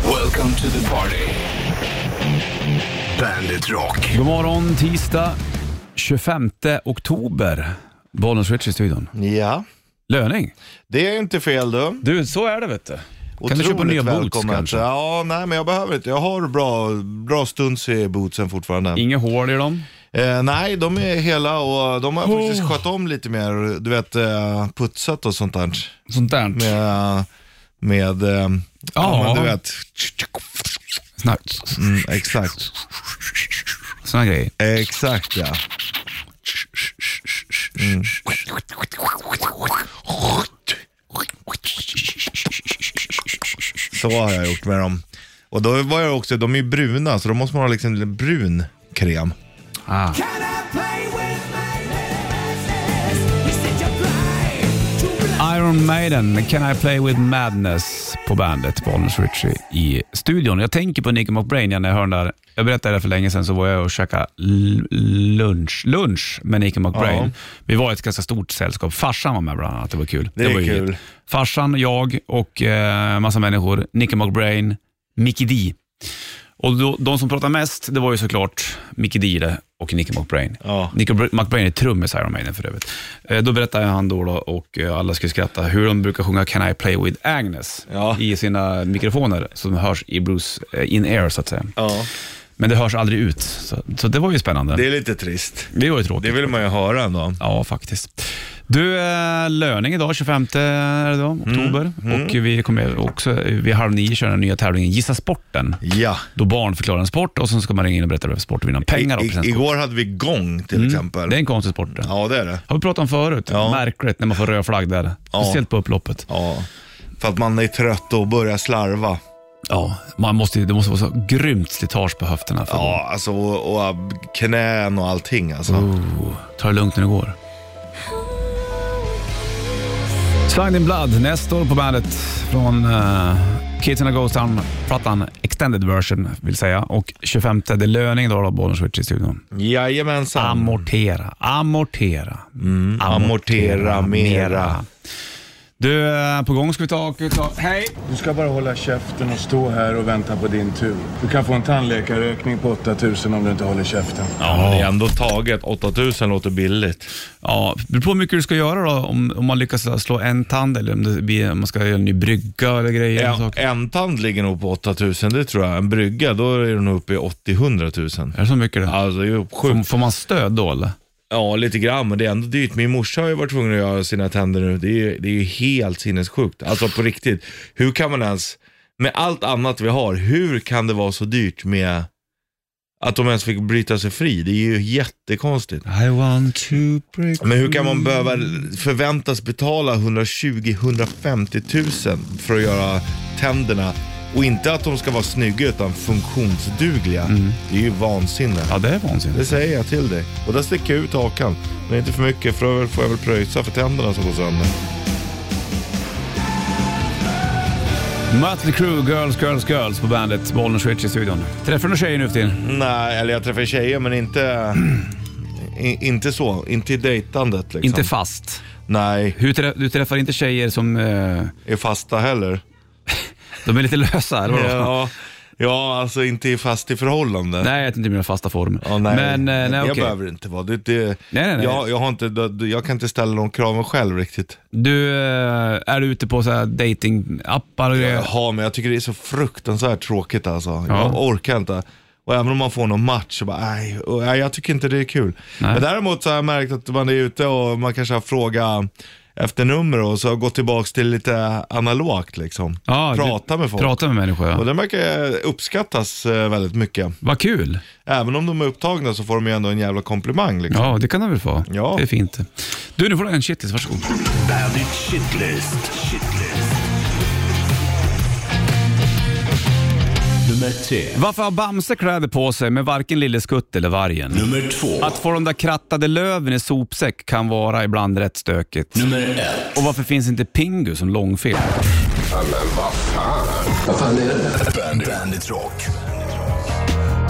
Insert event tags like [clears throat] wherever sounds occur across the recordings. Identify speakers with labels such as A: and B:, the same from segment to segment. A: Welcome to the party. Bandit Rock.
B: God morgon, tisdag 25 oktober. Bollens Rich i studion.
C: Ja,
B: Löning.
C: det är inte fel du.
B: Du, så är det vet du. Kan du
C: Otroligt
B: köpa nya boots
C: välkommen.
B: kanske?
C: Ja, nej men jag behöver inte. Jag har bra, bra stunds i bootsen fortfarande.
B: Inga hål i dem.
C: Eh, nej, de är hela och de har
B: Oh.
C: faktiskt skött om lite mer. Du vet, eh, putsat och sånt där.
B: Sånt där.
C: Med, med eh,
B: Ja.
C: men du vet.
B: Såna,
C: Mm, exakt,
B: såna grejer.
C: exakt ja. Så har jag gjort med dem. Och då var jag också, de är ju bruna så då måste man ha liksom lite brun kräm.
B: Ah. Iron Maiden, Can I Play With Madness på bandet, Bollnäs Ritchie i studion. Jag tänker på Nicky McBrain när jag hör den där. Jag berättade det för länge sedan, så var jag och käkade l- lunch, lunch med Nicky McBrain.
C: Ja.
B: Vi var ett ganska stort sällskap. Farsan var med bland annat, det var kul.
C: Det är
B: var ju
C: kul.
B: gött. Farsan, jag och eh, massa människor. Nicky McBrain, Mickey D. Och då, de som pratade mest, det var ju såklart Mickey Dile och Nicky McBrain.
C: Ja.
B: Nicky Br- McBrain är trummis i Iron Maiden för övrigt. Eh, Då berättade han då, då och eh, alla skulle skratta, hur de brukar sjunga Can I play with Agnes
C: Ja.
B: i sina mikrofoner som hörs i Bruce eh, in-air så att säga.
C: Ja.
B: Men det hörs aldrig ut, så, så det var ju spännande.
C: Det
B: Det,
C: är lite trist.
B: var ju
C: Det
B: tråkigt.
C: vill man ju höra ändå.
B: Ja, faktiskt. Du, eh, löning idag, 25 är det då,
C: Mm.
B: oktober. Och vi kommer också eh, vid halv nio köra den nya tävlingen Gissa Sporten.
C: Ja.
B: Då barn förklarar en sport och sen ska man ringa in och berätta vad det är för sport och vinna
C: I,
B: pengar. och
C: i,
B: presentkort.
C: igår hade vi gång till exempel.
B: Mm. Det är en konstig sport. det.
C: Ja, det är det.
B: Har vi pratat om förut.
C: Ja.
B: Märkligt när man får röd flagg där.
C: Ja.
B: Speciellt på upploppet.
C: Ja. För att man är trött och börjar slarva.
B: Ja, man måste, ju- det måste vara så grymt slitage på höfterna. För
C: Ja, alltså och, och ab- knän och allting alltså.
B: Oh, ta det lugnt när det går. Slanged in Blood, Nestor på bandet från uh, Kids in a Ghost Town-plattan Extended Version vill säga. Och 25, det är löning då, då Bollnäs Switch i studion.
C: Jajamensan.
B: Amortera, Mm. amortera.
C: amortera mera.
B: Du, eh, på gång ska vi ta och ta... Hej!
D: Du ska bara hålla käften och stå här och vänta på din tur. Du kan få en tandläkarräkning på 8000 om du inte håller käften.
C: Ja, men det är ändå taget. 8000 låter billigt.
B: Ja, det beror på hur mycket du ska göra då. Om, om man lyckas slå en tand eller om, det blir, om man ska göra en ny brygga eller grejer. och
C: En,
B: saker.
C: en tand ligger nog på 8000, det tror jag. En brygga, då är den nog uppe i 80-100 000.
B: Är det så mycket det?
C: Alltså det är ju
B: Får,
C: sjukt.
B: får man stöd då eller?
C: Ja, lite grann, men det är ändå dyrt. Min morsa har ju varit tvungen att göra sina tänder nu. Det är ju, det är ju helt sinnessjukt. Alltså på riktigt. Hur kan man ens, med allt annat vi har, hur kan det vara så dyrt med att de ens fick bryta sig fri? Det är ju jättekonstigt.
B: I want to break
C: Men hur kan man behöva förväntas betala 120-150 000 för att göra tänderna? Och inte att de ska vara snygga utan funktionsdugliga. Det är ju vansinne.
B: Ja, det är
C: Det
B: vansinnigt.
C: säger jag till dig. Och där sticker jag ut hakan. Men inte för mycket för då får jag väl pröjsa för tänderna som går sönder.
B: Mötley Crüe, Girls, Girls, Girls på bandet Bollnäs Switch i studion. Träffar du några tjejer nu för tiden?
C: Nej, eller jag träffar tjejer men inte... [clears throat] i- inte så, inte i dejtandet liksom.
B: Inte fast.
C: Nej,
B: Hur trä- du träffar inte tjejer som... eh,
C: i fasta heller.
B: de är lite lösa, eller vadå?
C: Ja, ja, alltså inte i fast i förhållande.
B: Nej, jag är inte mina fasta form.
C: Ja, nej.
B: Men, eh, nej,
C: jag
B: okej.
C: behöver inte vara det. det
B: Nej, nej, nej.
C: Jag, jag, har inte, jag kan inte ställa de kraven själv riktigt.
B: Du eh, är ute på så här datingappar och grejer.
C: Jaha, men jag tycker det är så fruktansvärt tråkigt alltså.
B: Ja.
C: Jag orkar inte. Och även om man får någon match så bara, nej, och, nej, jag tycker inte det är kul. Men däremot så har jag märkt att man är ute och man kanske har frågat efter nummer och så har jag gått tillbaka till lite analogt liksom.
B: Ja,
C: prata
B: du-
C: med folk.
B: Prata med människor,
C: Och
B: ja.
C: det verkar eh, uppskattas eh, väldigt mycket.
B: Vad kul.
C: Även om de är upptagna så får de ju ändå en jävla
B: [laughs]
C: komplimang. Liksom.
B: Ja, det kan de väl få.
C: Ja.
B: Det är fint. Du, nu får du en shitlist. Varsågod.
A: Bandit Shitlist. Shitlist. Nummer tre.
B: Varför har Bamse kläder på sig med varken Lille Skutt eller Vargen?
A: Nummer två.
B: Att få de där krattade löven i sopsäck kan vara ibland rätt stökigt.
A: Nummer ett.
B: Och varför finns inte Pingu som långfilm?
A: Bandit, Bandit Rock.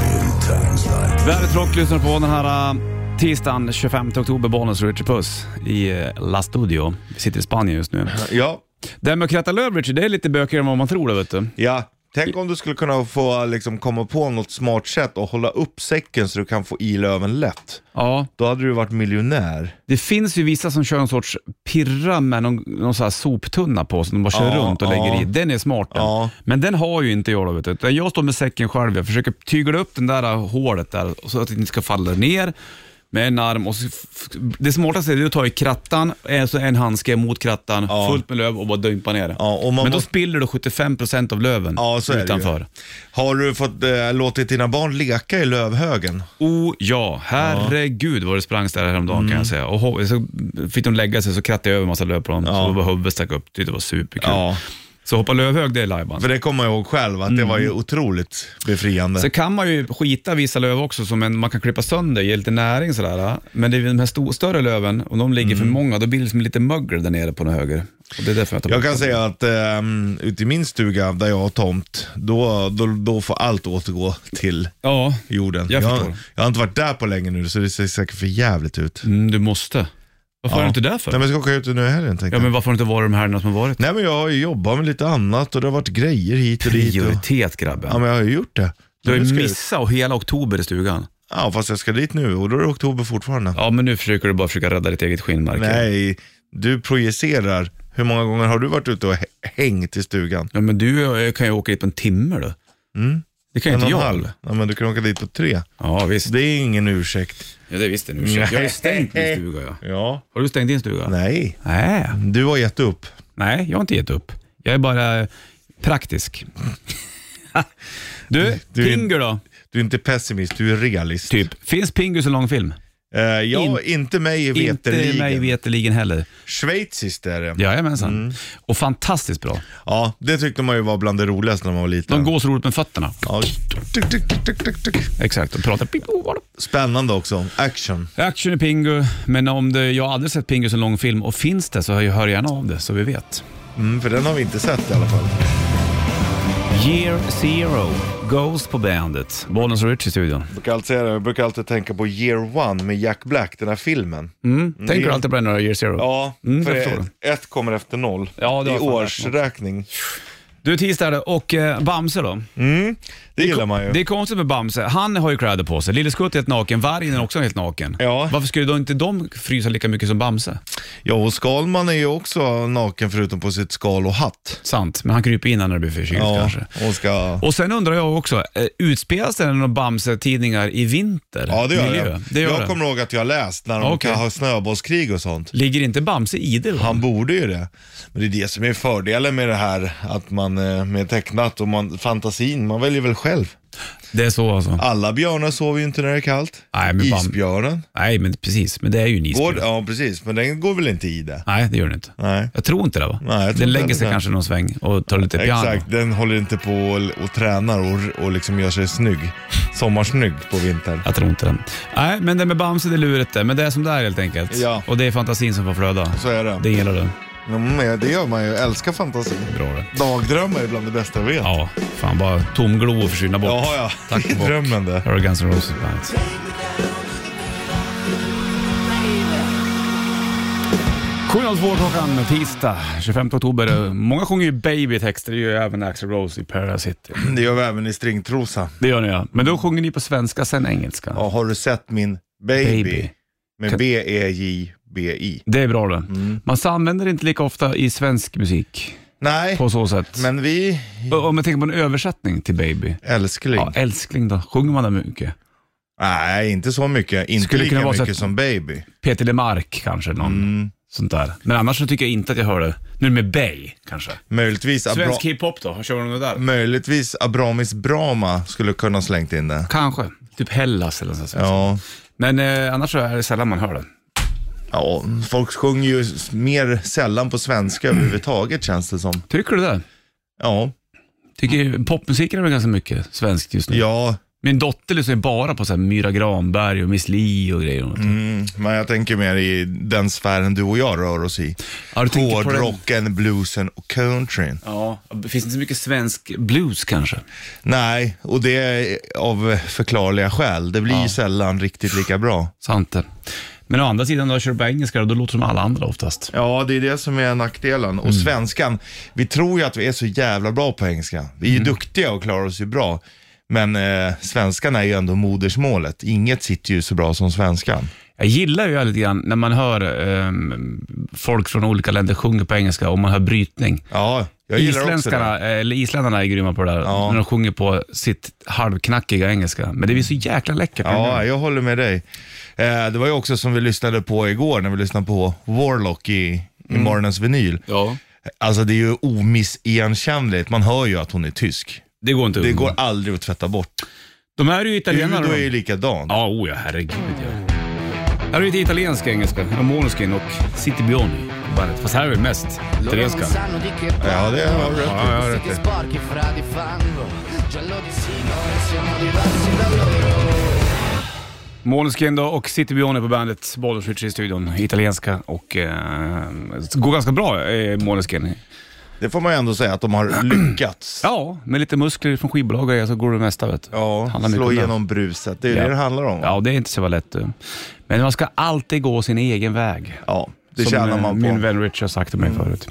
A: In times like
B: Värdet Rock lyssnar på den här eh, tisdagen 25 oktober, Bonus Richard Puss i eh, La Studio. Vi sitter i Spanien just nu.
C: Ja,
B: Det här med att kratta löv, Richard, det är lite bökigare än vad man tror. det, Vet du.
C: ja. Tänk om du skulle kunna få liksom, komma på något smart sätt och hålla upp säcken så du kan få i löven lätt.
B: Ja,
C: Då hade du varit miljonär.
B: det finns ju vissa som kör en sorts pirra med någon, någon så här soptunna på som de bara kör
C: Ja,
B: runt och lägger
C: ja.
B: i. Den är smart den.
C: Ja.
B: Men den har ju inte jag då. Vet du. Utan Jag står med säcken själv. Jag försöker tygla upp den där äh, hålet där så att det inte ska falla ner med en arm. Och så, f- det smartaste är att ta i krattan, eh, så en handske mot krattan,
C: Ja.
B: fullt med löv och bara dumpa ner det.
C: Ja, och man
B: Men då
C: måste-
B: spiller du 75% av löven
C: Ja, så är det
B: utanför.
C: ju. Har du fått eh, låtit dina barn leka i lövhögen?
B: Oh ja, herregud vad det sprangs där häromdagen kan
C: Mm.
B: jag säga. Och ho- så fick de lägga sig så krattade jag över en massa löv på dem, så det var huvudet stack upp. Tyckte det var superkul.
C: Ja.
B: Så hoppa lövhög, det är lajban.
C: För det kommer jag ihåg själv, att det var ju otroligt befriande.
B: Mm. Så kan man ju skita vissa löv också, som en, man kan klippa sönder, ge lite näring sådär. Men det är ju de här sto- större löven, om de ligger
C: Mm.
B: för många, då blir det liksom lite mögel där nere på den höger. Och det är därför jag tar
C: Jag
B: bort
C: kan
B: dem.
C: säga att um, ute i min stuga där jag har tomt, då, då, då får allt återgå till
B: Ja,
C: jorden.
B: Jag
C: jag,
B: förstår.
C: jag har inte varit där på länge nu så det ser säkert för jävligt ut.
B: mm, du måste. Varför är du inte där för?
C: Nej men jag ska åka ut nu i helgen tänkte
B: Ja,
C: jag.
B: men varför har du inte varit de här som har varit?
C: Nej men jag har ju jobbat med lite annat och det har varit grejer hit och dit. Och,
B: Prioritet grabben.
C: ja men jag har ju gjort det.
B: du har
C: Nu
B: ju
C: ska jag-
B: missat och hela oktober i stugan.
C: Ja fast jag ska dit nu och då är det oktober fortfarande.
B: Ja, men nu försöker du bara försöka rädda ditt eget skinnmärke.
C: Nej, du projicerar. Hur många gånger har du varit ute och hä- hängt i stugan?
B: Ja, men du eh, kan ju åka dit på en timme du. Det kan ju
C: Mm. En och
B: inte
C: en
B: jag.
C: halv? Ja, men du kan åka dit på tre.
B: Ja, visst.
C: Det är ingen ursäkt.
B: Ja, det visste nu. Jag har ju stängt min stuga. Ja.
C: Ja.
B: Har du stängt din stuga?
C: Nej,
B: Nej.
C: du har gett upp.
B: Nej, jag har inte gett upp. Jag är bara eh, praktisk. du,
C: Du är-
B: Pingu då?
C: Du är inte pessimist, du är realist.
B: Typ. Finns Pingu så lång film?
C: Eh, ja, inte mig
B: Inte mig
C: veterligen.
B: veterligen heller.
C: Schweiziskt är det. Ja.
B: Jajamensan.
C: Mm.
B: Och fantastiskt bra.
C: det tyckte man ju var bland det roligaste när man var
B: De
C: liten.
B: går så roligt med fötterna.
C: ja. tuk, tuk, tuk, tuk, tuk.
B: Exakt, och pratar pip, oh, vadå?
C: Spännande också. Action.
B: Action i Pingu, men om det, jag har aldrig sett Pingu som lång film och finns det så hör hör gärna av det så vi vet.
C: Mm, för den har vi inte sett i alla fall.
B: Year Zero, Ghost på bandet. Bollens och Rich i studion.
C: Jag brukar alltid, säga det, jag brukar alltid tänka på Year One med Jack Black, den här filmen.
B: Tänker du alltid på den när du Year Zero?
C: Mm. Ja,
B: Mm,
C: för
B: jag
C: ett,
B: förstår
C: ett kommer efter noll
B: Ja, det
C: i
B: har fan
C: årsräkning.
B: Du är tisdag där, och eh, Bamse då?
C: Det gillar man ju.
B: Det är konstigt med Bamse, han har ju kläder på sig. Lille Skutt är helt naken, vargen är också helt naken.
C: Ja.
B: Varför skulle då inte de frysa lika mycket som Bamse?
C: Ja, och Skalman är ju också naken förutom på sitt skal och hatt.
B: Sant, men han kryper in när det blir förkylt
C: Ja,
B: kanske.
C: och ska...
B: Och sen undrar jag också, eh, utspelas det några Bamse-tidningar i vinter?
C: Ja, det gör
B: Miljö?
C: jag.
B: det. Gör
C: jag
B: det.
C: kommer ihåg att jag har läst när de
B: Okej.
C: kan ha snöbollskrig och sånt.
B: Ligger inte Bamse i det då?
C: Han borde ju det. Men det är det som är fördelen med det här, att man eh, med tecknat och man, fantasin, man väljer väl själv.
B: Det är så alltså?
C: Alla björnar sover ju inte när det är kallt.
B: Nej, men fan-
C: Isbjörnen.
B: Nej, men precis. Men det är ju en isbjörn.
C: Går, ja, precis. Men den går väl inte i det?
B: Nej, det gör den inte.
C: Nej.
B: Jag tror inte det va?
C: Nej, jag tror
B: den
C: inte
B: lägger sig
C: det.
B: kanske någon sväng och tar lite piano.
C: Exakt, den håller inte på och, och tränar och, och liksom gör sig snygg. Sommarsnygg på vintern.
B: Jag tror inte den. Nej, men det med Bamse det är lurigt det. Men det är som det är helt enkelt.
C: Ja.
B: Och det är fantasin som får flöda.
C: Så är det.
B: Det gillar du.
C: Mm, ja, det gör man ju. Jag älskar fantasi.
B: Bra det.
C: Dagdrömmar är bland det bästa jag vet.
B: Ja, fan bara tomglo och försvinna bort.
C: Jaha, ja.
B: Tack
C: [laughs] Det är
B: och bock.
C: drömmen det.
B: Här har Guns N' Roses Bandet. klockan tisdag 25 oktober. Många sjunger ju babytexter, det gör ju även Axl Rose i Paradise City.
C: Det gör vi även i stringtrosa.
B: Det gör ni ja. Men då sjunger ni på svenska, sen engelska.
C: Ja, har du sett min baby?
B: Baby.
C: Med E B-E-J-B-I.
B: Det är bra det.
C: Mm.
B: Man använder det inte lika ofta i svensk musik
C: Nej,
B: på så sätt.
C: men vi...
B: Och Om jag tänker på en översättning till baby.
C: Älskling.
B: Ja, älskling då. Sjunger man det mycket?
C: Nej, inte så mycket. Inte
B: Skulle
C: lika
B: kunna vara så
C: mycket
B: att-
C: som baby.
B: Peter Lemark kanske, någon
C: Mm.
B: sånt där. Men annars så tycker jag inte att jag hör det. Nu är det med Bay kanske.
C: Möjligtvis, Abra...
B: Svensk hiphop då? Kör de det
C: Mm,
B: där?
C: Möjligtvis Abramis Brama skulle kunna ha slängt in det.
B: Kanske. Typ Hellas eller något sånt.
C: Ja.
B: Men eh, annars så är det sällan man hör det.
C: ja, folk sjunger ju s- mer sällan på svenska överhuvudtaget känns det som.
B: Tycker du det?
C: Ja,
B: Tycker ju- popmusiken är väl ganska mycket svensk just nu.
C: ja
B: Min dotter lyssnar ju bara på så här Myra Granberg och Miss Li och grejer. Och mm.
C: men jag tänker mer i den sfären du och jag rör oss i.
B: ja, du tänker på den-
C: Hårdrocken, bluesen och countryn.
B: Ja, det finns inte så mycket svensk blues kanske.
C: Nej, och det är av förklarliga skäl. Det blir ju sällan riktigt lika bra.
B: Sant det. Men å andra sidan, när du kör på engelska, då låter som alla andra oftast.
C: Ja, det är det som är nackdelen. Och svenskan, vi tror ju att vi är så jävla bra på engelska. Vi är ju duktiga och klarar oss ju bra. Men eh, svenskan är ju ändå modersmålet. Inget sitter ju så bra som svenskan.
B: Jag gillar ju lite grann när man hör ehm, folk från olika länder sjunga på engelska och man hör brytning.
C: Ja, jag gillar också det.
B: Isländskarna, eh, eller isländarna är grymma på det där,
C: Ja.
B: när de sjunger på sitt halvknackiga engelska. Men det blir så jäkla läckert.
E: Mm.
C: Ja, jag håller med dig. Eh, det var ju också som vi lyssnade på igår när vi lyssnade på Warlock i, i morgonens vinyl.
B: ja.
C: Alltså det är ju omissigenkännligt. Man hör ju att hon är tysk.
B: Det går inte
C: Det
B: att
C: går
B: undgå.
C: aldrig att tvätta bort.
B: De här är ju italienare.
C: Udo
B: de.
C: är ju likadan.
B: Ja, oh ja, herregud ja. Här är lite italiensk engelska, Ja, Måneskin och City Bioni på bandet. Fast här är det mest italienska.
C: Ja, det har du rätt i.
E: Ja, jag har rätt i. Sporchi fra di fango, giallo di signore, siamo diversi da loro.
B: Måneskin då och City Bioni på bandet. Bollers Ritchie i studion. Italienska och eh, det går ganska bra, eh, Måneskin.
C: Det får man ju ändå säga att
B: [clears throat]
C: de har lyckats.
B: Ja, med lite muskler från skivbolag och grejer så går det mesta vet du.
C: Ja,
B: Handlar mycket om
C: slå
B: det.
C: igenom bruset. Det är
B: Ja.
C: det det handlar om.
B: Ja, det är inte så lätt du. Men man ska alltid gå sin egen väg.
C: Ja, det
B: Som,
C: tjänar
B: eh,
C: man på. Mm.
B: Min vän Rich har sagt till mig förut.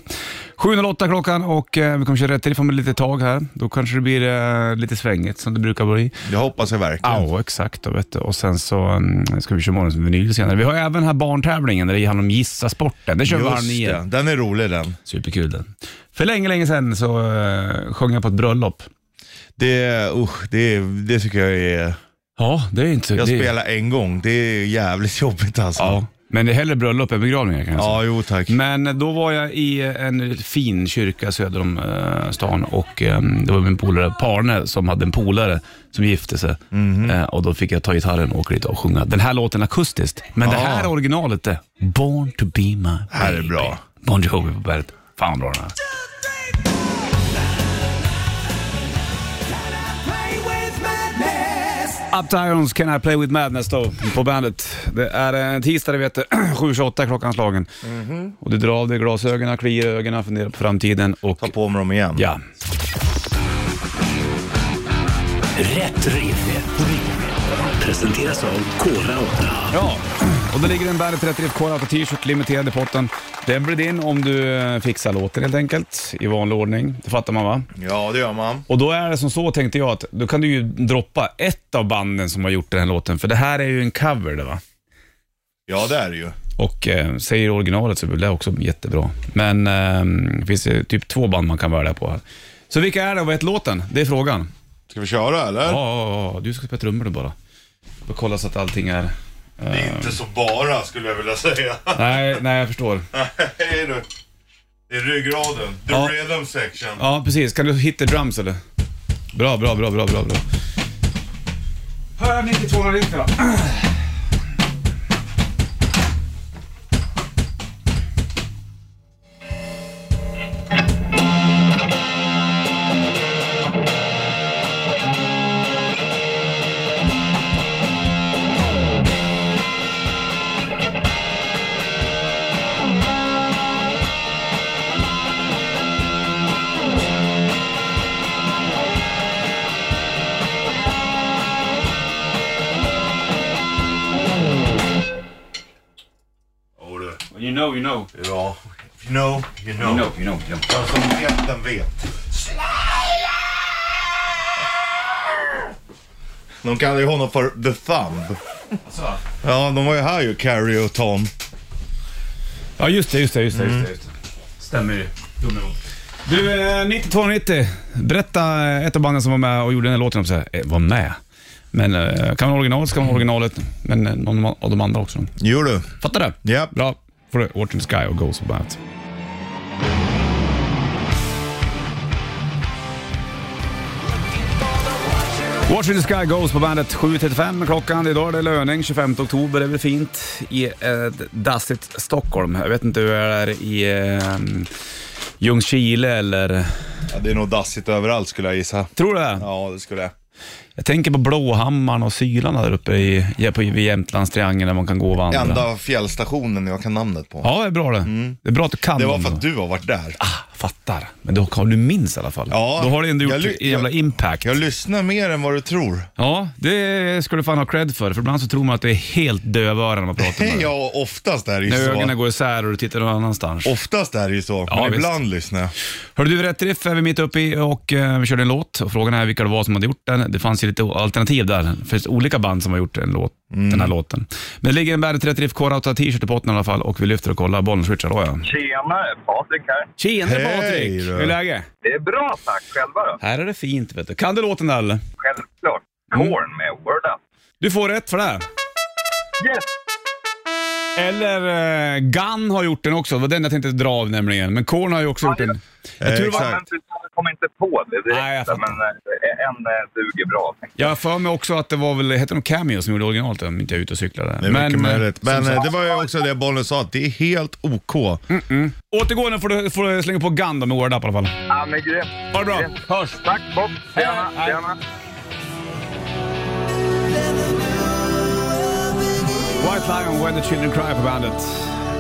B: 7.08 klockan och eh, vi kommer köra rätt till om ett litet tag här. Då kanske det blir eh, lite svängigt som det brukar bli.
C: Det hoppas jag verkligen.
B: Ja, exakt. Då, vet du. Och sen så mm, ska vi köra morgonens vinyl senare. Vi har även den här barntävlingen där det handlar om gissa sporten. Det kör vi halv
C: Just
B: nio.
C: det. Den är rolig den.
B: Superkul den. För länge, länge sedan så eh, sjöng jag på ett bröllop.
C: Det, usch, det, det tycker jag är...
B: Ja, det är inte så...
C: Jag
B: det,
C: spelar en gång. Det är jävligt jobbigt alltså.
B: Ja, men det är hellre bröllop än begravningar kan jag säga.
C: Ja, jo tack.
B: Men då var jag i en fin kyrka söder om eh, stan och eh, det var min polare Parne som hade en polare som gifte sig.
C: Mhm.
B: Eh, och då fick jag ta gitarren och åka dit och sjunga den här låten akustiskt. Men det här
C: Ah.
B: originalet är Born to be my baby.
C: här är bra.
B: Bon Jovi på bandet. Fan vad bra den här. Up Irons Can I Play With Madness då, på bandet. Det är en tisdag, det vet du. [clears throat] 7.28 klockan slagen.
C: Mhm.
B: Och du drar av dig glasögonen, kliar i ögonen, funderar på framtiden och...
C: Ta på mig dem igen.
B: Ja.
A: Rätt riff. Presenteras av Kora 8.
B: Ja, och då ligger en Bandet 30 FK Auto T-shirt limiterad i potten. Den blir din om du eh, fixar låten helt enkelt, i vanlig ordning. Det fattar man va?
C: Ja, det gör man.
B: Och då är det som så tänkte jag att då kan du ju droppa ett av banden som har gjort den här låten, för det här är ju en cover det va?
C: Ja, det är det ju.
B: Och eh, säger originalet så blir det också jättebra. Men eh, det finns ju typ två band man kan välja på här. Så vilka är det och vad heter låten? Det är frågan.
C: Ska vi köra eller?
B: Ja, ja, ja, du ska spela trummor då bara. Bara kolla så att allting är...
C: Det är inte så bara skulle jag vilja säga. [laughs]
B: Nej, nej jag förstår.
C: Nej du. Det är ryggraden. The
B: Ja.
C: rhythm section.
B: Ja, precis. Kan du hitta drums eller? Bra, bra, bra, bra, bra, bra. Hör ni inte 290 va?
C: Jo, du.
B: You know, you know.
C: Ja. You know, you know.
B: you know, you know.
C: Den som vet, den vet. De kallar ju honom för The Thumb. Alltså. Ja, de var ju här ju, Carrie och Tom.
B: Ja, just det, just det, just det. Just det, just det. Mm. Stämmer ju. Du, eh, 9290. Berätta eh, ett av banden som var med och gjorde den här låten. om Så här, eh, var med? Men eh, kan man originalet så kan man originalet. Men eh, någon av de andra också.
C: Jo du.
B: Fattar du?
C: Japp.
B: Bra. får du Orton Sky och Ghost på bandet. Watch in the sky goes på bandet 7.35 klockan. Idag är det löning 25 oktober. Det är väl fint i ett dassigt Stockholm. Jag vet inte hur det är i eh, Ljungskile eller...
C: Ja, det är nog dassigt överallt skulle jag gissa.
B: Tror du det?
C: Ja, det skulle jag.
B: Jag tänker på Blåhammarn och Sylarna där uppe i, ja, på, vid Jämtlandstriangeln där man kan gå och vandra.
C: Enda fjällstationen jag kan namnet på.
B: Ja, det är bra det. Det är bra att du kan
C: Mm. Det var
B: dem
C: för
B: då.
C: att du har varit där.
B: Ah, fattar. Men då, kan- du minns i alla fall.
C: Ja.
B: då har det ändå gjort
C: Jag ly-
B: en jävla
C: jag-
B: impact.
C: Jag lyssnar mer än vad du tror.
B: ja, det ska du fan ha cred för. För ibland så tror man att det är helt dövöra när man pratar
C: [laughs]
B: med dig.
C: Ja, oftast Mm. är det ju
B: När
C: så.
B: ögonen går isär och du tittar någon annanstans.
C: Oftast är det ju så,
B: Ja,
C: men
B: visst.
C: ibland lyssnar jag.
B: Hörde du, Rätt Riff är vi mitt uppe i och eh, vi körde en låt. Och frågan är vilka det var som hade gjort den. Det fanns ju lite o- alternativ där. Det finns olika band som har gjort en låt,
C: Mm.
B: den här låten. Men det ligger en Bandet Rätt Riff Core t-shirt i potten i alla fall och vi lyfter och kollar. Bollen switchar då ja.
F: Tjenare, Patrik här.
B: Tjenare
C: Hej Patrik! då. Hur är
B: läget?
F: Det är bra tack, själva då?
B: Här är det fint vet du. Kan du låten där eller?
F: Självklart.
B: Mm.
F: Korn med Word Up.
B: Du får rätt för det. här.
F: Yes!
B: Eller eh, Gun har gjort den också. Det var den jag tänkte dra av nämligen. Men Korn har ju också gjort den.
C: Eh,
B: Jag tror det var
C: exakt.
F: Men precis, jag kom inte på det direkt,
B: Nej, jag fattar.
F: men eh, en eh, duger bra. tänkte
B: Jag har för mig också att det var väl, hette de Cameo som gjorde originalet om inte jag är ute och cyklade.
C: Det är mycket möjligt. Men
B: som sagt, Mm.
C: eh, det var ju också det Bollnäs sa, att det är helt OK.
B: Återgå nu får du, får du slänga på Gun då med Word Up i alla fall.
F: jag. Ja, men grymt.
B: Ha det bra, hörs!
F: Tack Bob.
B: Hej.
F: Tjena, tjena.
B: White Lion, When the Children Cry på bandet.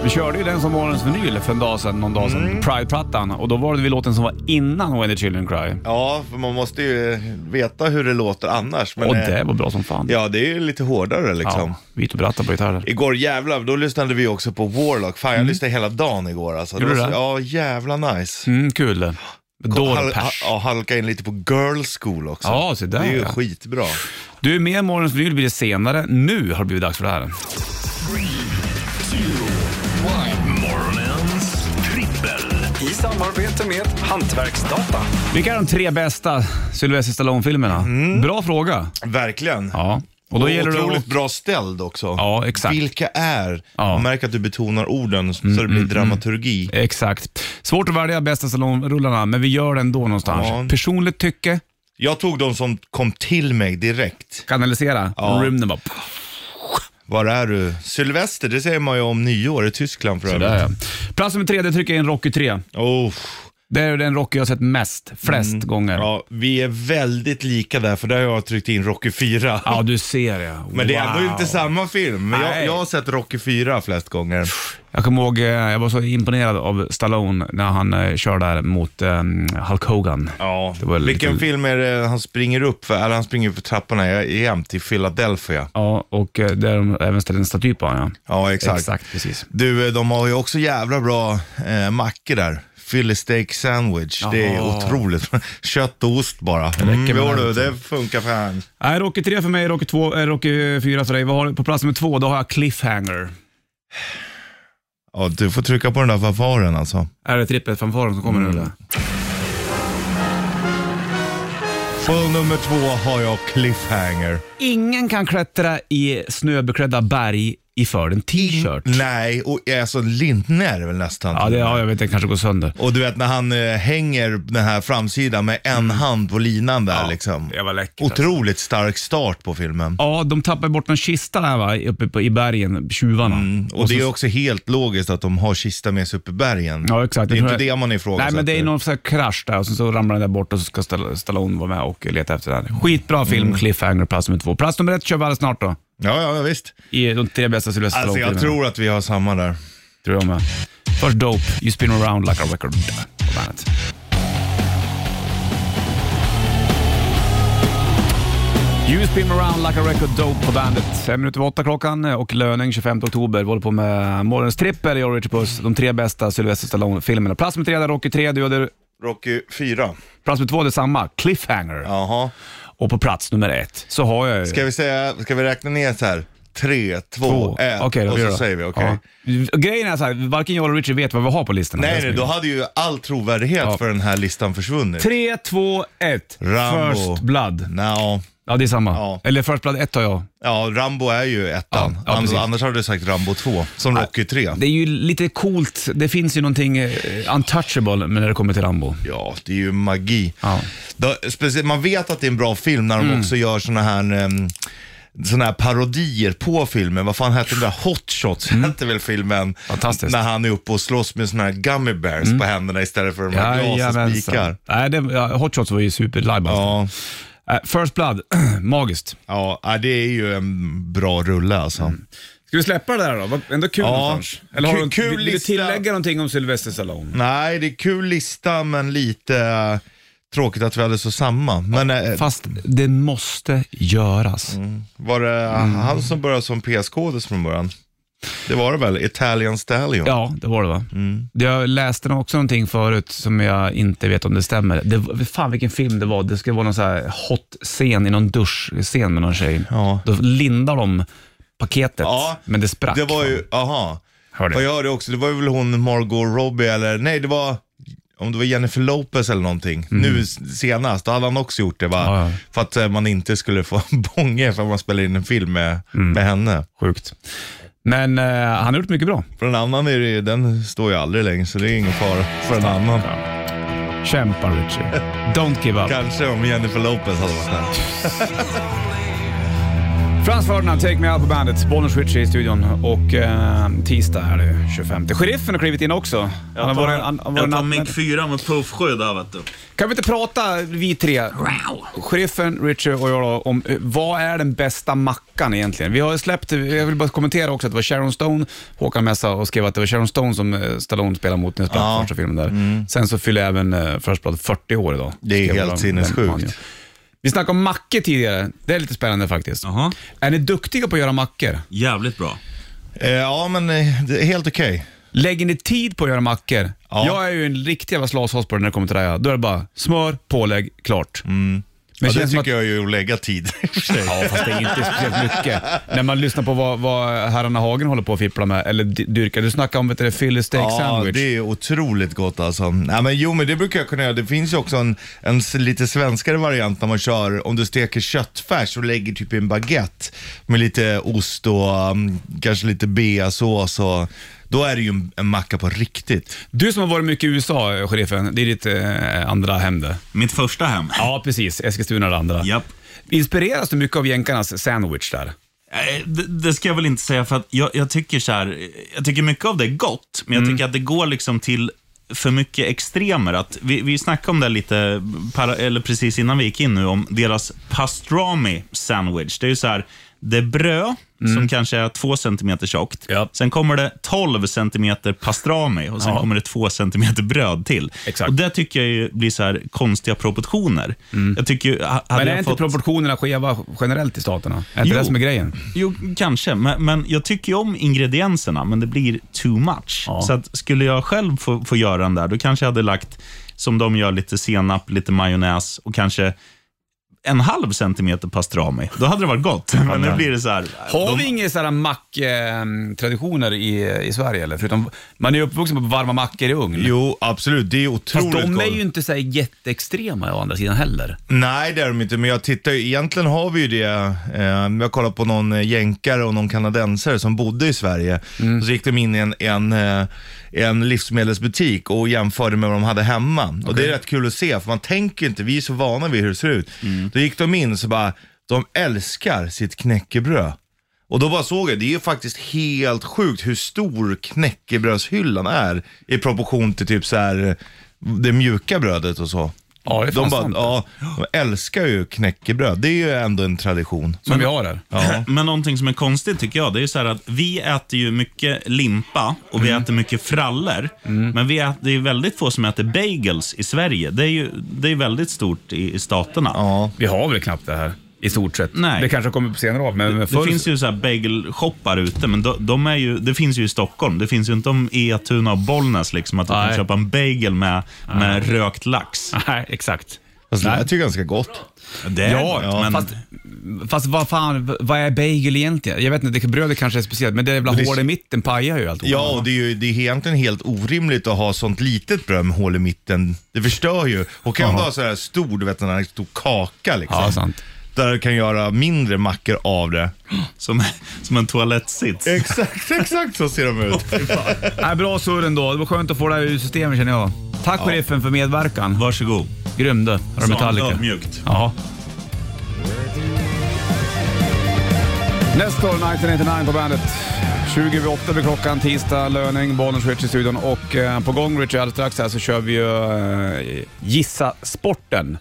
B: Vi körde ju den som morgonens vinyl för en dag sedan, någon dag sedan.
C: Mm.
B: Pride-plattan. Och då var det väl låten som var innan When the Children Cry.
C: Ja, för man måste ju veta hur det låter annars. Men,
B: och
C: eh,
B: det var bra som fan.
C: Ja, det är ju lite hårdare liksom.
B: ja Vito Bratta på gitarr.
C: Igår jävlar, då lyssnade vi också på Warlock. Fan, jag lyssnade hela dagen igår alltså.
B: Mm. Gjorde
C: Det var
B: du
C: så-
B: det?
C: Ja, jävla nice.
B: Mm, kul.
C: Hal- ha,
B: Dårpers.
C: ja, halka in lite på Girl School också.
B: Ja, så där,
C: Det är ju
B: ja.
C: skitbra.
B: Du är med i morgonens vinyl blir det senare. Nu har det blivit dags för det här.
A: Morgonens trippel.
G: I samarbete med Hantverksdata.
B: Vilka är de tre bästa Sylvester Stallone-filmerna? Bra fråga.
C: Verkligen.
B: Ja. Och då gäller det
C: Mm. otroligt
B: att...
C: bra ställd också.
B: Ja, exakt.
C: Vilka är?
B: Ja. Mm,
C: Märk att du betonar orden så det blir dramaturgi.
B: Exakt. Svårt att välja bästa Stallone-rullarna, men vi gör det ändå någonstans.
C: Ja.
B: Personligt tycke,
C: Jag tog de som kom till mig direkt.
B: kanalisera,
C: Ja.
B: rymden bara...
C: Var är du? Sylvester, det säger man ju om nyår i Tyskland för
B: Där, ja.
C: övrigt.
B: Plats nummer tre, det trycker jag in Rocky 3.
C: Oh.
B: Det är den Rocky jag har sett mest, flest gånger. Ja.
C: Mm. Ja, vi är väldigt lika där, för där har jag tryckt in Rocky 4.
B: du ser det.
C: Men det är
B: Wow.
C: ändå inte samma film. Men jag,
B: Nej.
C: jag har sett Rocky 4 flest gånger.
B: Jag kommer ihåg, eh, jag var så imponerad av Stallone när han eh, körde där mot eh, Hulk Hogan.
C: Ja.
B: Det var lite-
C: Vilken film är det han springer upp för? Eller han springer upp för trapporna jag är jämt i Philadelphia.
B: Ja, och eh, där de även ställde en staty på honom. Ja.
C: Ja, exakt.
B: Exakt, precis.
C: Du, eh, de har ju också jävla bra eh, mackor där. Philly steak sandwich. Det är
B: Jaha.
C: otroligt. [laughs] Kött och ost bara. Mm,
B: med liksom.
C: jo
B: det.
C: du, det funkar fan.
B: Nej, Äh, Rocky 3 för mig, Rocky, 2, eh, Rocky 4 för dig. Vad har du på plats nummer två? Då har jag Cliffhanger.
C: Ja, du får trycka på den där fanfaren alltså.
B: Är det trippet fanfaren som kommer
C: Mm.
B: nu eller?
C: På nummer två har jag cliffhanger.
B: Ingen kan klättra i snöbeklädda berg i för en t-shirt.
C: Nej, och alltså Lindner är det väl nästan.
B: Ja, det, ja, jag vet, det kanske går sönder.
C: Och du vet när han eh, hänger den här framsidan med en
B: Mm.
C: hand på linan där liksom.
B: Det var läckert. alltså.
C: Otroligt stark start på filmen.
B: Ja, de tappar bort någon kista där va, uppe på, i bergen, tjuvarna.
C: Mm. Och det
B: så-
C: är också helt logiskt att de har kista med sig upp i bergen.
B: Ja, exakt.
C: Det är
B: Jag tror
C: inte
B: jag-
C: det man
B: Nej,
C: ifrågasätter.
B: men det är någon sån här krasch där och sen så ramlar den där bort och så ska Stall- Stallone vara med och leta efter den.
C: Mm.
B: Skitbra film, Cliffhanger, plats nummer två. Plats nummer ett kör vi alldeles snart då.
C: Ja, ja, ja, visst.
B: I de tre bästa Sylvester
C: Alltså jag
B: Stallone-filmerna.
C: tror att vi har samma där.
B: Tror jag med. Först Dope, You spin around like a record på bandet. You spin around like a record dope på bandet. Fem minuter över åtta klockan och löning 25 oktober. Vi håller på med morgonens trippel i Orange Puss. De tre bästa Sylvester Stallone-filmerna. Plats med tre där Rocky 3, du hade
C: Rocky 4.
B: plats med två, det är samma. Cliffhanger.
C: Jaha.
B: Och på plats nummer ett så har jag ju...
C: Ska vi, säga, ska vi räkna ner så här? 3, 2, 1
B: Okej, då
C: och
B: blir det
C: så
B: då.
C: säger vi okej.
B: Ja. Grejen är så här, varken jag eller Richard vet vad vi har på listan.
C: Nej, nej, då hade ju all trovärdighet
B: Ja.
C: för den här listan försvunnit.
B: 3, 2, 1.
C: Rambo.
B: First Blood.
C: Nå.
B: Ja, det är samma.
C: Ja.
B: Eller First Blood 1 har jag.
C: Ja, Rambo är ju ettan.
B: Ja, ja,
C: annars,
B: precis.
C: annars hade du sagt Rambo 2, som Rocky 3.
B: Det är ju lite coolt. Det finns ju någonting eh, untouchable när det kommer till Rambo.
C: Ja, det är ju magi.
B: Ja.
C: Då, speciellt, man vet att det är en bra film när de
B: Mm.
C: också gör såna här um, såna här parodier på filmen. Vad fan hette den där Hot Shots? Hette väl filmen?
B: Mm. Fantastiskt. Mm.
C: När han är uppe och slåss med såna här gummy bears på händerna istället för de här glas och spikar.
B: Jajamensan. Nej, det, ja, Hot Shots var ju superlive alltså.
C: Ja,
B: Eh, First Blood, [clears throat] magiskt. Mm.
C: ja, ja, det är ju en bra rulle alltså.
B: Ska vi släppa det där då? Vad- Ändå kul
C: Ja.
B: någonstans. Eller har du,
C: Kul- kul
B: vill, vill du
C: lista.
B: tillägga någonting om Sylvester Stallone?
C: Nej, det är kul lista men lite eh, tråkigt att vi hade så samma. Men eh,
B: Fast det måste göras.
C: var det
B: Mm.
C: han som började som PS-kodis från början? Det var det väl? Italian Stallion?
B: Ja, det var det va?
C: Mm.
B: Jag läste nog också någonting förut som jag inte vet om det stämmer. Det, var- fan vilken film det var. Det skulle vara någon så här hot scen i någon duschscen med någon tjej.
C: Ja.
B: Då lindar de paketet,
C: Ja,
B: men det sprack.
C: Det var ju,
B: fan.
C: aha.
B: Hörde.
C: Och jag hörde också, det var väl hon Margot Robbie eller, nej det var, om det var Jennifer Lopez eller någonting. Nu s- senast, då hade han också gjort det va?
B: Mm. Ja, ja.
C: För att eh, man inte skulle få [laughs] bånge för att man spelar in en film med,
B: Mm.
C: med henne.
B: Sjukt. Men eh, han har gjort mycket bra.
C: För en annan är det ju- den står ju aldrig längre så det är ingen fara för en annan.
B: Kämpa Richie. Don't give up.
C: Kanske om Jennifer Lopez hade varit här.
B: Frans Ferdinand, Take Me Out på bandet. Bonus Richie i studion och eh, tisdag är det ju 25. Sheriffen har klivit in också. Han har varit, han, han har varit
H: Jag tar
B: nattmänniska.
H: mick 4 med puffskydd här vet du.
B: Kan vi inte prata, vi tre, sheriffen, Richard och jag, då, om eh, vad är den bästa mackan egentligen? Vi har ju släppt, eh, jag vill bara kommentera också att det var Sharon Stone, Håkan Messa och skrev att det var Sharon Stone som eh, Stallone spelade mot när jag spelade första filmen där. Sen så fyller även eh, First Blood 40 år idag.
C: Mm. Det är
B: Skrev
C: helt
B: de-
C: sinnessjukt.
B: den- ja. Vi snackade om mackor tidigare, det är lite spännande faktiskt.
H: Jaha.
B: Är ni duktiga på att göra mackor?
H: Jävligt bra.
C: Eh, ja men eh, det är helt okej.
B: Lägger ni tid på att göra mackor?
C: Ja.
B: Jag är ju en riktig jävla slashas på det när det kommer till det här. Då är det bara smör, pålägg, klart. Men
C: Mm. Ja, det
B: känns som
C: tycker
B: att-
C: jag är ju att lägga tid i och för sig.
B: Ja, fast det är inte speciellt mycket. När man lyssnar på vad, vad herrarna Hagen håller på att fippla med, eller dy- dyrkar. Du snackar om vet du, det, Philly steak sandwich.
C: det är otroligt gott alltså. Nej, men, jo, men det brukar jag kunna göra. Det finns ju också en, en s- lite svenskare variant när man kör, om du steker köttfärs och lägger typ i en baguette med lite ost och um, kanske lite beasås och då är det ju en, en macka på riktigt.
B: Du som har varit mycket i USA, eh, sheriffen. Det är ditt eh, andra hem det.
H: Mitt första hem.
B: Ja, precis. Eskilstuna är det andra.
H: Japp.
B: Inspireras du mycket av jänkarnas sandwich där?
H: Eh, Det, det ska jag väl inte säga för att jag, jag tycker så här, eh, jag tycker mycket av det är gott, men jag
B: Mm.
H: tycker att det går liksom till för mycket extremer. Att vi, vi snackade om det lite, para, eller precis innan vi gick in nu, om deras pastrami sandwich. Det är ju så här, det är bröd som kanske är två centimeter tjockt.
B: Mm. Ja.
H: Sen kommer det 12 centimeter pastrami och sen kommer det två centimeter bröd till.
B: Exakt.
H: Och Det tycker jag ju blir så här konstiga proportioner. Jag tycker ju, ha- hade
B: Mm. Men är
H: jag
B: inte
H: fått...
B: proportionerna skeva generellt i staterna? Är inte
H: Jo.
B: det som är grejen?
H: Jo, kanske. Men, men jag tycker ju om ingredienserna, men det blir too much.
B: Ja.
H: Så att skulle jag själv få, få göra den där, då kanske jag hade lagt, som de gör, lite senap, lite majonnäs och kanske en halv centimeter pastrami. Då hade det varit gott. [laughs] Men nu blir det så här.
B: Har vi inga sådana macktraditioner i, i Sverige? Eller? Förutom, man är ju uppvuxen på varma mackor i ugn.
C: Jo, absolut. Det är
B: Fast
C: otroligt
B: de
C: gott.
B: är ju inte så här jätteextrema å andra sidan heller.
C: Nej, det är de inte, men jag tittar ju, egentligen har vi ju det, eh, jag kollade på någon eh, jänkare och någon kanadensare som bodde i Sverige. Och så gick de in i en, en, eh, en livsmedelsbutik och jämförde med vad de hade hemma. Och det är rätt kul att se, för man tänker ju inte, vi är så vana vid hur det ser ut. Då gick de in så bara, de älskar sitt knäckebröd. Och då bara såg jag, det är ju faktiskt helt sjukt hur stor knäckebrödshyllan är i proportion till typ så här det mjuka brödet och så.
B: Ja, det är fan
C: de, bara,
B: sant.
C: ja, de älskar ju knäckebröd, det är ju ändå en tradition.
B: Som vi har där.
H: äh. Men någonting som är konstigt tycker jag, det är ju så här att vi äter ju mycket limpa och vi äter mycket frallor. Men vi äter, det är ju väldigt få som äter bagels i Sverige. Det är ju det är väldigt stort i, i staterna.
C: Ja.
B: Vi har väl knappt det här, i stort sett.
H: Nej.
B: Det kanske kommer på senare av, men
H: Det
B: förr...
H: finns ju så här bagelshoppar ute, men de, de är ju, det finns ju i Stockholm. Det finns ju inte om Etuna och Bollnäs, liksom, att du
B: Nej.
H: kan köpa en bagel med, med
B: [laughs]
H: rökt lax.
B: Nej, exakt.
C: Fast det här tycker jag är ganska gott.
H: Det är
B: Ja,
H: gott, men
B: fast, fast vad fan, vad är bagel egentligen? Jag vet inte, det, brödet kanske är speciellt, men det jävla
C: det-
B: hål i mitten pajar ju allt.
C: Ja, och det är ju det är egentligen helt orimligt att ha sånt litet bröd med hål i mitten. Det förstör ju. Och kan du ha så här stor, du vet den här stor kaka liksom.
B: Ja, sant.
C: Där du kan göra mindre mackor av det.
H: som, som en toalettsits.
C: Exakt, exakt så ser de ut.
B: Nej, bra surr ändå. Det var skönt att få det här ur systemet känner jag. Tack sheriffen för medverkan.
H: Varsågod.
B: Grym du. Har du Metallica?
H: Mjukt.
B: Ja. Nästa år 1999 på bandet. 20 över 8 blir klockan, tisdag, löning, Bonus Rich i studion och eh, på gång Richard alldeles strax här så kör vi ju eh, Gissa Sporten.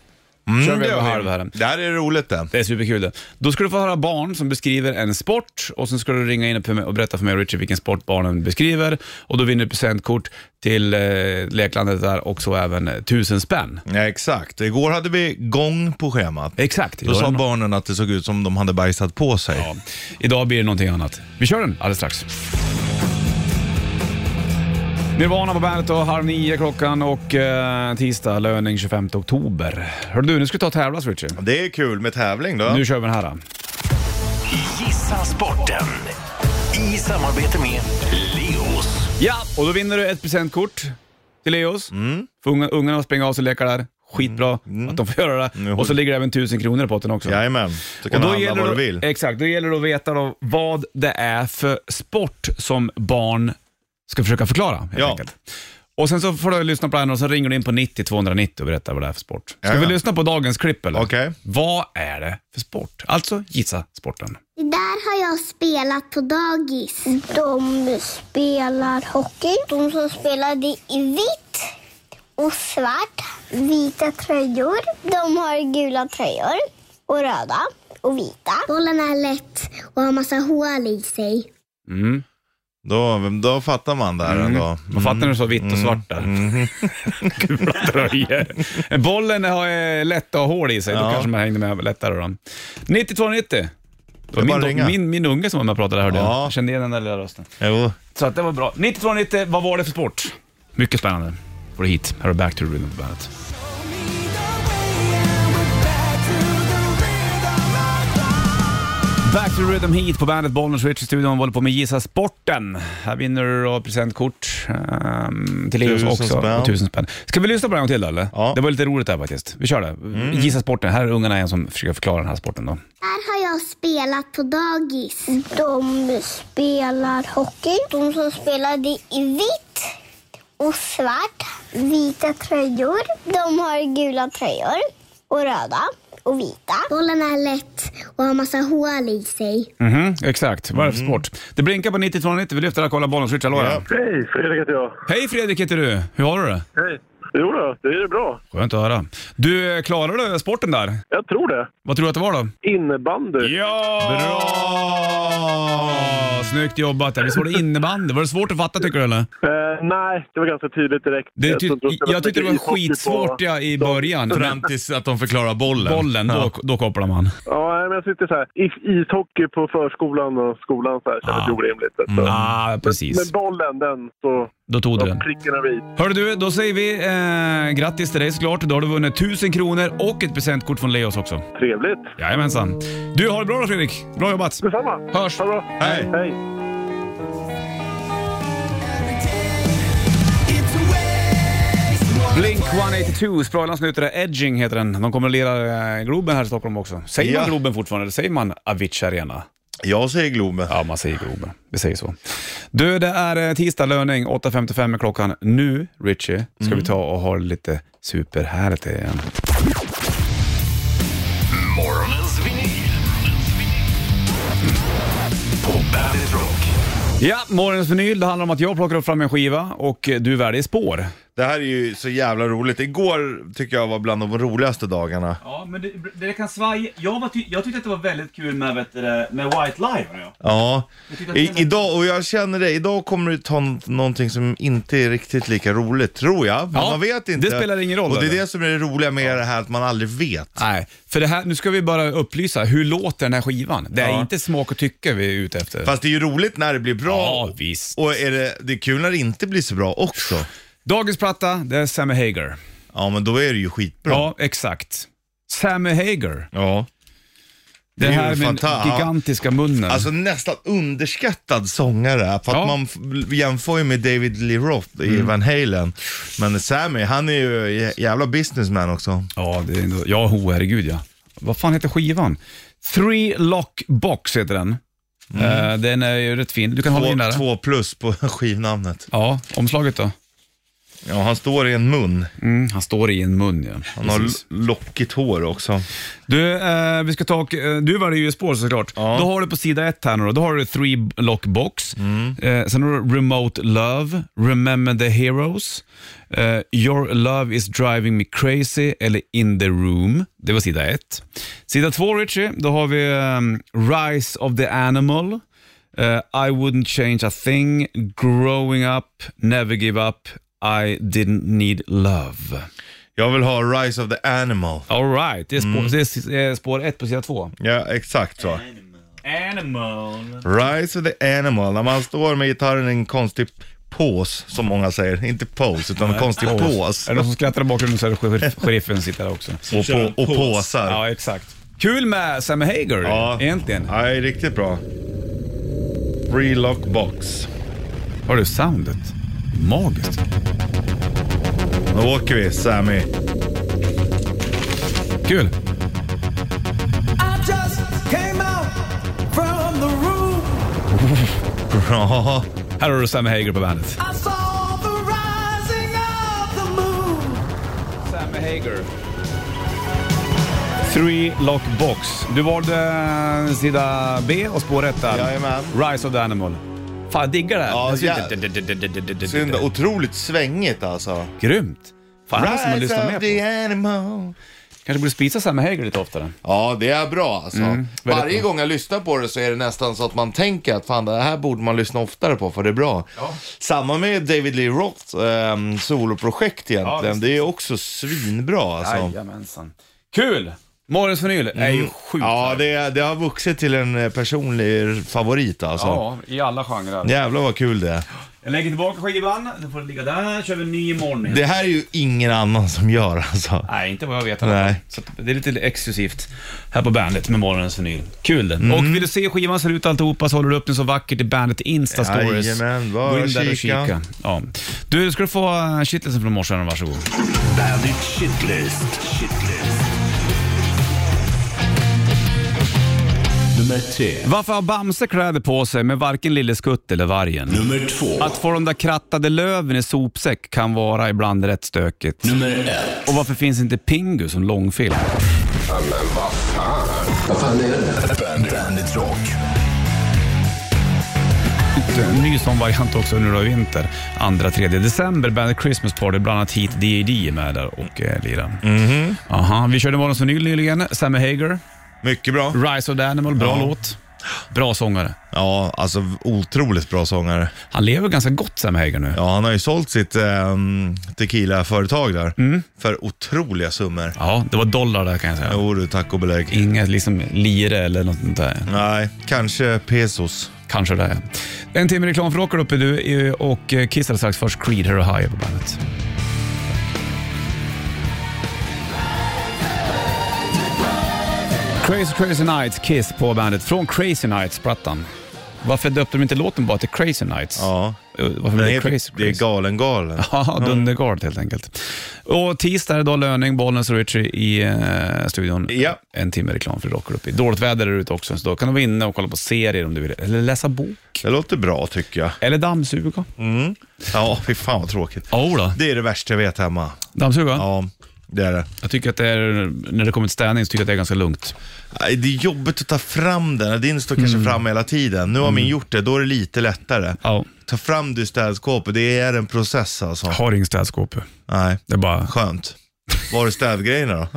B: Kör vi en
C: gör
B: och halv här.
C: Mm, Det här är roligt det.
B: Det är superkul det. Då ska du få höra barn som beskriver en sport och sen ska du ringa in och för mig- och berätta för mig och Richie vilken sport barnen beskriver och då vinner du presentkort till eh, leklandet där och så även eh, tusen spänn.
C: Ja, exakt. Igår hade vi gång på schemat.
B: Exakt.
C: Då
B: Idag, är
C: sa
B: det no-
C: barnen att det såg ut som de hade bajsat på sig.
B: ja. Idag blir det någonting annat. Vi kör den alldeles strax. Nirvana på bandet och halv nio klockan och eh, tisdag löning 25 oktober. Hör du, nu ska vi ta och tävlas Richie.
C: Det är kul med tävling då.
B: Nu kör vi den här. Då.
A: Gissa sporten. I samarbete med Leos.
B: Ja, och då vinner du ett presentkort till Leos. För unga, ungarna springa av sig och leka där. Skitbra att de får göra det. Och så ligger det även tusen kronor i potten också.
C: Jajamän, så kan
B: Och
C: du
B: då
C: handla
B: gäller
C: vad du
B: det-
C: vill.
B: Exakt, då gäller det att veta då vad det är för sport som barn ska försöka förklara. Helt
C: Ja.
B: enkelt. Och sen så får du lyssna på det här och så ringer du in på 90 290 och berättar vad det är för sport. Ska vi
C: Jajamän.
B: lyssna på dagens klipp eller?
C: Okej.
B: Vad är det för sport? Alltså gissa sporten.
I: Det där har jag spelat på dagis. De spelar hockey. De som spelade i vitt och svart. Vita tröjor. De har gula tröjor och röda och vita. Bollen är lätt och har massa hål i sig.
B: Mm.
C: Då, då fattar man där ändå.
B: Man fattar när du sa vitt och
C: Mm.
B: svart där. [laughs] Gula tröjor. Bollen har eh, lätt att ha hål i sig, då
C: Ja.
B: kanske man hängde med lättare. Då. 9290. Det var
C: är bara att
B: min,
C: ringa.
B: do- min, min unge som var med och pratade, hörde
C: Ja.
B: jag. jag. kände igen den där lilla rösten.
C: Jo.
B: Så att det var bra. 9290, vad var det för sport? Mycket spännande. Får du hit. Här har du Back to the Rhythm på bandet. Back to the Rhythm Heat på bandet Bollnäs Rich i studion. Vi håller på med Gissa Sporten. Här vinner du då presentkort ehm, till Leos
C: Tusen
B: också.
C: spänn.
B: Och tusen spänn. Ska vi lyssna på det en gång till då, eller?
C: Ja. Mm.
B: Det var lite roligt där faktiskt. Vi kör det. Gissa Sporten. Här är ungarna igen som försöker förklara den här sporten då.
I: Där har jag spelat på dagis. De spelar hockey. De som spelade i vitt och svart. Vita tröjor. De har gula tröjor och röda och vita. Bollen är lätt och har massa hål i sig.
B: Mhm, exakt.
C: Mm.
B: Vad är det för sport? Det blinkar på 9290. Vi lyfter och kollar Bollnäs Rich. Hallå ja.
J: Hej, Fredrik heter jag.
B: Hej Fredrik heter du. Hur har du det?
J: Hej. Jo då, det är bra.
B: Skönt att höra. Du, klarar du sporten där?
J: Jag tror det.
B: Vad tror du att det var då?
J: Innebandy.
B: Ja! Bra! Snyggt jobbat. där. Visst var det innebandy? Var det svårt att fatta tycker du eller?
J: Eh, nej, det var ganska tydligt direkt.
B: Det, ty,
J: tror inte var
B: jag tyckte det var
J: mycket ishockey på-
B: skitsvårt ja, i början. Men
C: Fram tills att de förklarar bollen.
B: bollen, då, då kopplar man.
J: Ja, nej, men jag tyckte så här. is- Ishockey på förskolan och skolan så här, kändes
B: Ah.
J: ah. orimligt. Så.
B: Ja, ah,
J: Men
B: precis.
J: bollen, den så
B: Då tog du
J: de
B: den.
J: pricken över i.
B: Hör du, då säger vi eh, grattis till dig såklart. Då har du vunnit 1000 kronor och ett presentkort från Leos också.
J: Trevligt.
B: Jajamensan. Du, har det bra då Fredrik. Bra jobbat.
J: Detsamma.
B: Hörs.
J: Ha det bra.
C: Hej.
J: Hej.
B: Blink 182, Sprallans nytt det Edging heter den. De kommer att lira eh, Globen här i Stockholm också. Säger
C: Ja.
B: man Globen fortfarande eller säger man Avicii Arena?
C: Jag säger Globen.
B: Ja, man säger Globen. Vi säger så. Du, det är eh, tisdag löning, 8.55 är klockan. Nu, Richie, ska
A: Mm.
B: vi ta och ha lite superhärligt igen.
A: Morgonens vinyl. På Bandit Rock.
B: Ja, morgonens vinyl. Det handlar om att jag plockar upp fram en skiva och eh, du väljer spår.
C: Det här är ju så jävla roligt. Igår tycker jag var bland de roligaste dagarna.
H: Ja, men det, kan svaja. Jag, tyckte att det var väldigt kul med, med White Live.
C: Ja.
H: tycker att
C: I,
H: den är-
C: idag, och jag känner det, idag kommer du ta n- någonting som inte är riktigt lika roligt, tror jag. Men
B: Ja,
C: man vet inte.
B: det spelar ingen roll,
C: Och det är
B: eller?
C: det som är det roliga med det här, att man aldrig vet.
B: Nej, för det här, nu ska vi bara upplysa. Hur låter den här skivan? Det är
C: Ja.
B: inte smak och tycke vi är ute efter.
C: Fast det är ju roligt när det blir bra.
B: Ja, visst.
C: Och är det, det är kul när det inte blir så bra också.
B: Dagens platta, det är Sammy Hager.
C: Ja, men då är det ju skitbra.
B: Ja, exakt. Sammy Hager.
C: Ja.
B: Det,
C: är ju
B: här med den
C: fanta- ja.
B: gigantiska munnen.
C: Alltså nästan underskattad sångare. För att
B: Ja. Mm.
C: man f- jämför ju med David Lee Roth i Van Halen. Men Sammy, han är ju jä- jävla businessman också.
B: Ja, det är ändå, ja, ho, herregud ja. Vad fan heter skivan? Three Lock Box heter den. Eh, den är ju rätt fin. Du kan hålla in
C: Mm. Två,
B: där.
C: två plus på [laughs] skivnamnet.
B: Ja, omslaget då?
C: Ja, han står i en mun.
B: han står i en mun, ja.
C: Han har
B: Precis.
C: lo- lockigt hår också.
B: Du, eh, vi ska ta och, eh, du var det ju i spår såklart. Då har du på sida ett här nu då, då har du Three Lock Box. Eh, sen har du Remote Love, Remember the Heroes, eh, Your Love is Driving Me Crazy eller In the Room. Det var sida ett. Sida två Richie, då har vi ehm, Rise of the Animal, eh, I wouldn't change a thing, Growing up, Never give up, I didn't need love.
C: Jag vill ha Rise of the Animal.
B: All right, det är spår, det är s- eh, spår ett på sida två.
C: Ja, exakt så.
H: Animal.
C: Rise of the Animal. När man står med gitarren i en konstig pås, som många säger. Inte pose, utan en konstig pås.
B: Är det någon som skrattar i bakgrunden så är det
C: [laughs]
B: sher- sheriffen sitter där också.
C: Och, på, och påsar.
B: Ja, exakt. Kul med Sam Hager
C: Ja.
B: egentligen.
C: Nej, riktigt bra. Relock box.
B: Har du soundet? Magiskt.
C: Nu åker vi, Sammy.
B: Kul.
C: Bra.
B: Här har du Sam Hager på bandet. Sam Hager. Three Lock Box. Du valde eh, sida B och spår 1 där.
C: Jajamän.
B: Rise of the Animal. Fan, jag diggar det här.
C: Ja,
B: Jag
C: ja.
B: sitter-
C: Synd, otroligt svängigt alltså.
B: Grymt. Fan, det här måste man lyssna
C: Rise
B: mer på.
C: of the Animal.
B: Kanske borde spisa Sam Hager lite oftare.
C: Ja, det är bra alltså.
B: Mm, väldigt
C: Varje gång jag lyssnar på det så är det nästan så att man tänker att fan, det här borde man lyssna oftare på för det är bra. Samma med David Lee Roths ehm, soloprojekt egentligen. det är också svinbra alltså. Mm.
B: Jajamensan. Kul! Morgons vinyl är ju sjukt
C: Ja, det, det har vuxit till en eh, personlig favorit alltså.
B: Ja, i alla genrer.
C: Jävlar vad kul det är.
B: Jag lägger tillbaka skivan, den får ligga där, kör vi en ny imorgon. igen.
C: Det här är ju ingen annan som gör alltså.
B: Nej, inte vad jag vet.
C: Nej.
B: Så att det är lite exklusivt här på Bandet med morgonens vinyl. Kul det.
C: Mm.
B: Och vill du se skivan ser ut alltihopa så håller du upp den så vackert i Bandet Insta Stories.
C: Jajamän, var
B: Gå in där och
C: kika.
B: kika. Ja. Du, nu ska du få eh, shitlisten från morse, varsågod.
A: Bandit Shitlist. Shitlist. Nummer tre.
B: Varför har Bamse kläder på sig med varken Lille Skutt eller Vargen?
A: Nummer två.
B: Att få de där krattade löven i sopsäck kan vara ibland rätt stökigt.
A: Nummer ett.
B: Och varför finns inte Pingu som långfilm?
A: Bandit, Bandit Rock.
B: En ny sån variant också nu då i vinter. 2-3 december, bandet Christmas Party, bland annat Heat D.A.D. är med där och eh, lirar.
C: Mhm.
B: Aha, vi körde Morgonens vinyl nyligen, Sammy Hager,
C: Mycket bra.
B: Rise of the Animal, bra
C: Ja.
B: låt. Bra sångare.
C: Ja, alltså otroligt bra sångare.
B: Han lever ganska gott Sammy Hager nu. Ja.
C: Ja, han har ju sålt sitt ehm, tequila-företag där
B: Mm.
C: för otroliga summor.
B: det var dollar där kan jag säga.
C: Jo du, tack och belägg.
B: Inga liksom lire eller något sånt där.
C: Nej, kanske pesos.
B: Kanske det. En timme reklam för rockar uppe du eh, och eh, Kiss alldeles strax. Först Creed, Hero High på bandet. Crazy Crazy Nights, Kiss på bandet. Från Crazy Nights-plattan. Varför döpte de inte låten bara till Crazy Nights?
C: Ja.
B: Eh, Varför
C: Den
B: blev det
C: heter-
B: Crazy
C: det är Mm.
B: Crazy?
C: galen galen.
B: Ja, Dundergard helt enkelt. Och tisdag idag Löning, Bollnäs och Richie i eh, studion.
C: Ja.
B: En timme reklam för rockar uppe. Dåligt väder där ute också, så då kan du vara inne och kolla på serier om du vill. Eller läsa bok.
C: Det låter bra tycker jag.
B: Eller dammsuga.
C: Ja, fy fan vad tråkigt.
B: Jo då.
C: Det är det värsta jag vet hemma.
B: Dammsuga?
C: oh, Ja, det är det.
B: Jag tycker att det är, när det kommer till städning så tycker jag att det är ganska lugnt.
C: Nej, Det är jobbigt att ta fram den. Din står kanske fram hela tiden. Nu har min gjort det, då är det lite lättare.
B: Mm. Ja.
C: Ta fram det i städskåpet, det är en process alltså.
B: Har ingen städskåp.
C: Nej,
B: Det är bara,
C: skönt. Var är städgrejerna då?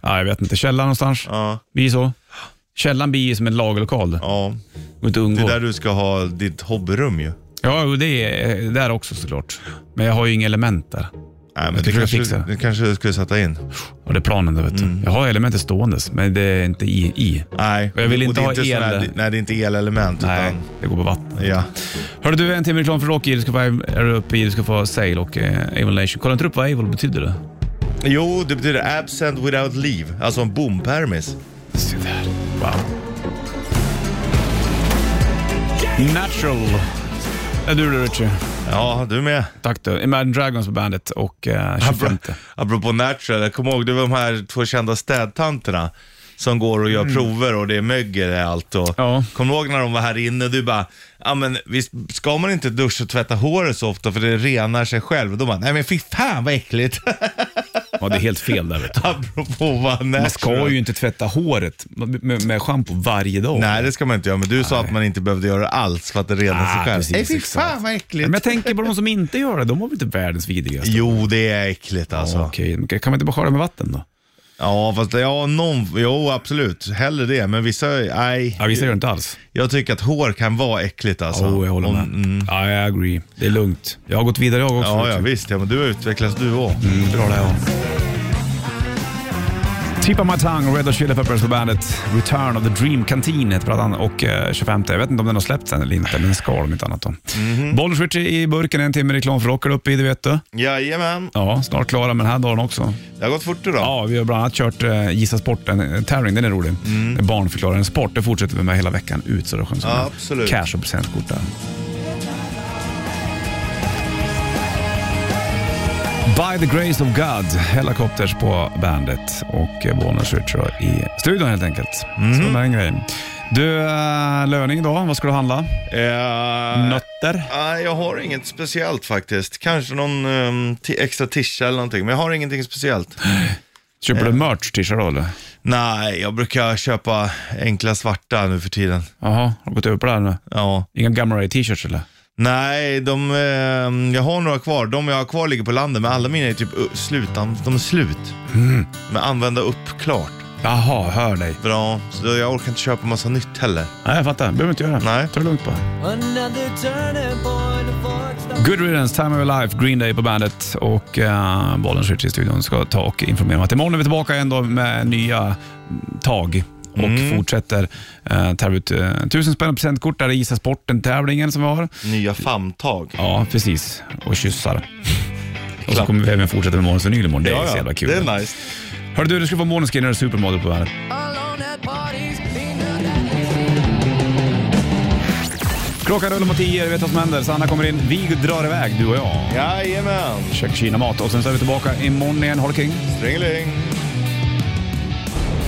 B: ja, jag vet inte, källaren någonstans.
C: Ja,
B: Blir så. Källaren blir som en lagerlokal.
C: ja.
B: Går inte att
C: Det är
B: undgå.
C: där du ska ha ditt hobbyrum ju.
B: Ja, jo, det är där också såklart. Men jag har ju inga element där.
C: Nej, men
B: Jag
C: det
B: tror jag
C: kanske,
B: fixar det.
C: det kanske du skulle sätta in.
B: Och det är planen där vet du.
C: Mm.
B: Jag har elementet ståendes, men det är inte i. i.
C: Nej,
B: Och jag vill
C: och
B: inte
C: det är
B: ha el.
C: sån Här, nej, det är inte elelement.
B: Nej,
C: Utan,
B: det går på vatten.
C: ja.
B: Hörde du, en timme reklam för Rocky. Du ska få, är du uppe i, du ska få Sail och eh, Avon Nation. Kolla inte upp vad Avon betyder det?
C: Jo, det betyder absent without leave. Alltså en bompermis.
B: Se där. Wow. Natural. Är du det Richie?
C: Ja, du med.
B: Tack du. Imagine Dragons på bandet och eh, 25.
C: Apropå natural, jag kommer ihåg det var de här två kända städtanterna som går och gör
B: Mm.
C: prover och det är mögel och allt. Och Kommer du ihåg när de var här inne och du bara, ja men visst ska man inte duscha och tvätta håret så ofta för det renar sig själv? Och de bara, nej men fy fan vad äckligt. [laughs]
B: Ja, det är helt fel där vet [laughs] du.
C: Apropå vad
B: Man ska ju inte tvätta håret med, med schampo varje dag.
C: Nej, det ska man inte göra, men du sa att man inte behövde göra det alls för att det renar
B: Ah,
C: sig själv. Nej, fy fan. vad äckligt.
B: Men jag tänker på de som inte gör det, de har väl inte världens vidrigaste?
C: Jo, det är äckligt alltså.
B: Okej, men kan man inte bara sköra med vatten då?
C: Ja, fast ja, någon, jo absolut. Hellre det, men vissa, nej.
B: Ja, vissa gör det inte alls.
C: Jag tycker att hår kan vara äckligt alltså.
B: Jo, jag håller med. Ja, jag agree. Det är lugnt. Jag har gått vidare jag också.
C: Ja, ja visst. Ja, men du har utvecklats du också.
B: Mm, bra det Tip of my tongue, Red Hot Chili Peppers på bandet. Return of the Dream Canteen heter plattan och eh, 25. Jag vet inte om den har släppts än eller inte, men ska om inte annat då. Mm. i burken, en timme reklam för Rocker uppe i, det vet du.
C: Jajamän.
B: Ja, snart klara med den här dagen också.
C: Det har gått fort idag.
B: Ja, vi har bland annat kört eh, Gissa sporten, en tävling, den är rolig. Där Barn förklarar en sport, det fortsätter vi med hela veckan ut så det skönt som
C: Ja,
B: det.
C: absolut.
B: Cash och presentkort där. By the grace of God, Hellacopters på bandet och eh, Bonus Richard i studion helt enkelt.
C: Mhm.
B: Så det är en grej. Du, eh, löning idag, vad ska du handla?
C: Eh,
B: Nötter?
C: nej, jag har inget speciellt faktiskt. Kanske någon ehm, ti- extra tisha eller någonting, men jag har
B: [laughs]
C: ingenting speciellt.
B: Köper
C: Eh.
B: du merch t då eller?
C: Nej, jag brukar köpa enkla svarta nu för tiden.
B: Jaha, har du gått över på det här nu?
C: Ja.
B: Inga Gamma Ray t-shirts eller?
C: Nej, de, ehm, jag har några kvar. De jag har kvar ligger på landet, men alla mina är typ uh, slut. an- De är slut.
B: Mm.
C: Men använda upp klart.
B: Jaha, hör dig.
C: Bra, så då- jag orkar inte köpa massa nytt heller.
B: Nej, jag fattar. behöver inte göra.
C: Nej.
B: Ta det lugnt bara. Good riddance, time of your life, Green Day på bandet och uh, bollen skjuter i studion. Ska ta och informera om att imorgon är vi tillbaka igen då med nya tag och
C: Mm.
B: fortsätter uh, ta ut uh, tusen spänn och presentkort där i Isa Sporten-tävlingen som vi har.
C: Nya famntag.
B: Ja, precis. Och kyssar. Och så kommer vi även fortsätta med Månens vinyl imorgon. Det är
C: Ja, ja.
B: så jävla kul.
C: Det är nice.
B: Hörru du, du ska få Måneskin när du är supermodel på bandet. Klockan rullar mot tio, du vet vad som händer. Sanna kommer in, vi drar iväg, du och jag.
C: Jajamän.
B: Käkar Kina-mat och sen så är vi tillbaka imorgon igen. Ha det king.
C: Stringeling.